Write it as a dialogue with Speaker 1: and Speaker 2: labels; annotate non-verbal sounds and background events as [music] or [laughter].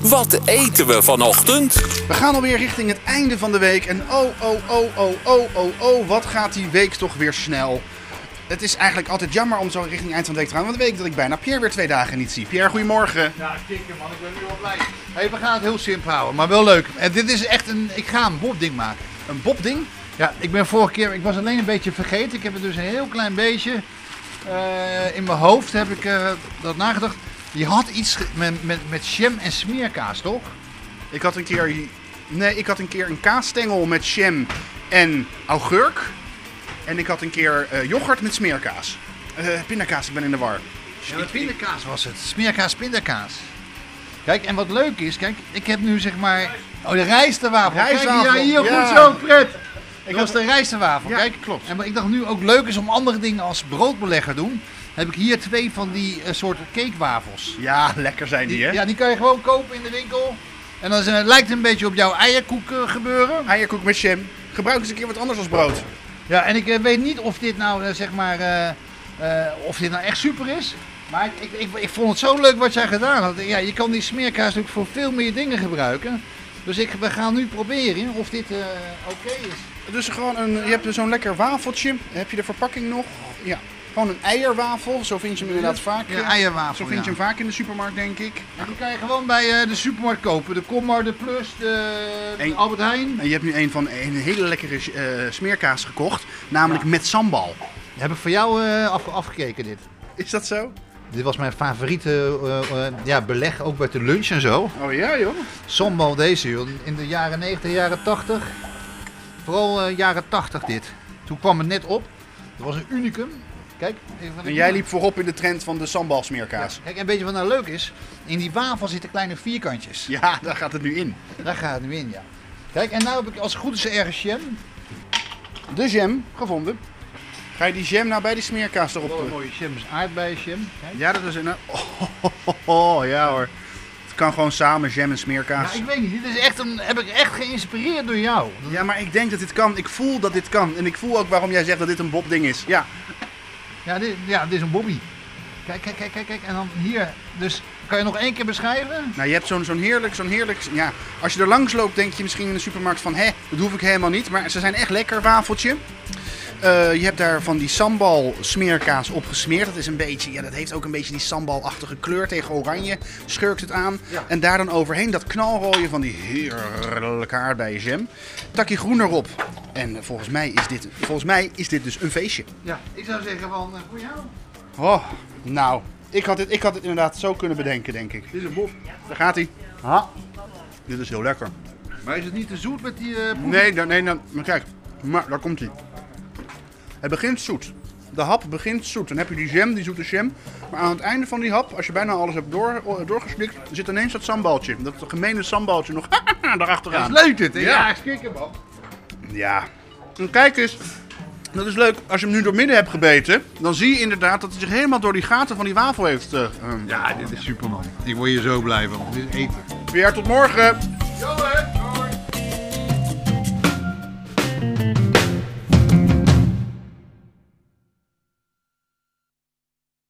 Speaker 1: Wat eten we vanochtend?
Speaker 2: We gaan alweer richting het einde van de week. En oh, oh, oh, oh, oh, oh, oh, wat gaat die week toch weer snel. Het is eigenlijk altijd jammer om zo richting eind van de week te gaan. Want dan weet ik dat ik bijna Pierre weer twee dagen niet zie. Pierre, goedemorgen.
Speaker 3: Ja, kikker man, ik ben nu al blij. Hey, we gaan het heel simpel houden, maar wel leuk.
Speaker 2: Eh,
Speaker 3: En dit is echt een, ik ga een bobding maken.
Speaker 2: Een Bob-ding?
Speaker 3: Ja, ik ben vorige keer, ik was alleen een beetje vergeten. Ik heb het dus een heel klein beetje eh, in mijn hoofd heb ik eh, dat nagedacht. Je had iets ge- met, met, met jam en smeerkaas, toch?
Speaker 2: Ik had een keer... Nee, ik had een keer een kaasstengel met jam en augurk. En ik had een keer eh, yoghurt met smeerkaas. Eh, pindakaas, ik ben in de war.
Speaker 3: Ja, met pindakaas was het. Smeerkaas, pindakaas. Kijk, en wat leuk is, kijk, ik heb nu zeg maar... Oh, de rijstewafel.
Speaker 2: Rijstwafel,
Speaker 3: Kijk, ja, hier,
Speaker 2: ja.
Speaker 3: goed zo, pret. Ik was de rijstewafel,
Speaker 2: Ja,
Speaker 3: kijk.
Speaker 2: klopt.
Speaker 3: En wat ik dacht nu ook leuk is om andere dingen als broodbelegger doen, heb ik hier twee van die eh, soort cakewafels.
Speaker 2: Ja, lekker zijn die,
Speaker 3: Die,
Speaker 2: hè?
Speaker 3: ja, die kan je gewoon kopen in de winkel. En dan is, eh, lijkt het een beetje op jouw eierkoek eh, gebeuren.
Speaker 2: Eierkoek met jam. Gebruik eens een keer wat anders als brood.
Speaker 3: Ja, en ik eh, weet niet of dit nou eh, zeg maar, eh, eh, of dit nou echt super is. Maar ik, ik, ik, ik vond het zo leuk wat jij gedaan had. Ja, je kan die smeerkaas natuurlijk voor veel meer dingen gebruiken. Dus ik, we gaan nu proberen of dit eh, oké is.
Speaker 2: Dus gewoon een, je hebt zo'n lekker wafeltje. Heb je de verpakking nog? Ja. Gewoon een eierwafel. Zo vind je hem inderdaad vaak.
Speaker 3: Ja,
Speaker 2: eh,
Speaker 3: eierwafel,
Speaker 2: Zo vind
Speaker 3: ja.
Speaker 2: je hem vaak in de supermarkt, denk ik.
Speaker 3: En die kan je gewoon bij eh, de supermarkt kopen. De Commar, de Plus, de, de
Speaker 2: Eén.
Speaker 3: Albert Heijn.
Speaker 2: En je hebt nu een van een hele lekkere eh, smeerkaas gekocht. Namelijk met sambal.
Speaker 3: Heb ik voor jou eh, afge- afgekeken dit.
Speaker 2: Is dat zo?
Speaker 3: Dit was mijn favoriete eh, eh, ja, beleg, ook bij de lunch en zo.
Speaker 2: Oh ja, joh.
Speaker 3: Sambal deze joh, in de jaren 90, jaren 80. Vooral eh, jaren 80 dit. Toen kwam het net op. Dat was een unicum. Kijk. even wat
Speaker 2: En
Speaker 3: ik-
Speaker 2: jij liep voorop in de trend van de sambal
Speaker 3: Ja,
Speaker 2: smeerkaas.
Speaker 3: Kijk, en weet je wat nou leuk is? In die wafel zitten kleine vierkantjes.
Speaker 2: Ja. [laughs] daar gaat het nu in.
Speaker 3: Daar gaat het nu in, ja. Kijk, en nu heb ik als het goed is ergens jam.
Speaker 2: De jam gevonden. Ga je die jam nou bij die smeerkaas erop
Speaker 3: Een
Speaker 2: doen?
Speaker 3: mooie jam is aardbeienjam. Kijk.
Speaker 2: Ja, dat is een... Oh, oh, oh, [laughs] oh, ja hoor. Het kan gewoon samen jam en smeerkaas.
Speaker 3: Ja, ik weet niet. Dit is echt een, heb ik echt geïnspireerd door jou.
Speaker 2: Ja, maar ik denk dat dit kan. Ik voel dat dit kan. En ik voel ook waarom jij zegt dat dit een Bob-ding is. Ja,
Speaker 3: Ja, dit, ja, dit is een bobby. Kijk, kijk, kijk, kijk, kijk. En dan hier. Dus kan je nog één keer beschrijven?
Speaker 2: nou je hebt zo'n zo'n heerlijk, zo'n heerlijk... Ja, als je er langs loopt denk je misschien in de supermarkt van... Hé, dat hoef ik helemaal niet. Maar ze zijn echt lekker, wafeltje. Eh, je hebt daar van die sambal smeerkaas op gesmeerd. Dat is een beetje, ja, dat heeft ook een beetje die sambalachtige kleur tegen oranje. Schurkt het aan.
Speaker 3: Ja.
Speaker 2: En daar dan overheen dat knalrooien van die heerlijke aardbeienjam. Takkie groen erop. En eh, volgens mij is dit, volgens mij is dit dus een feestje.
Speaker 3: Ja, ik zou zeggen van, eh, voor jou.
Speaker 2: Oh, nou, ik had, dit, ik had dit inderdaad zo kunnen bedenken, denk ik.
Speaker 3: Dit is een bof.
Speaker 2: Daar gaat hij. Ha. Dit is heel lekker.
Speaker 3: Maar is het niet te zoet met die eh, poe-
Speaker 2: Nee, daar- nee, dan- maar kijk, maar daar komt hij. Het begint zoet. De hap begint zoet. Dan heb je die jam, die zoete jam. Maar aan het einde van die hap, als je bijna alles hebt door, doorgeslikt, zit ineens dat sambaltje. Dat gemene sambaltje nog [laughs]
Speaker 3: Dat
Speaker 2: daarachteraan.
Speaker 3: is leuk dit, hè?
Speaker 2: Ja.
Speaker 3: Ja, schrikken man.
Speaker 2: Ja. En kijk eens, dat is leuk. Als je hem nu door midden hebt gebeten, dan zie je inderdaad dat hij zich helemaal door die gaten van die wafel heeft. eh, eh,
Speaker 3: Ja, dit is superman. Ik word hier zo blij van. Dit is eten.
Speaker 2: Weer tot morgen.
Speaker 3: Yo,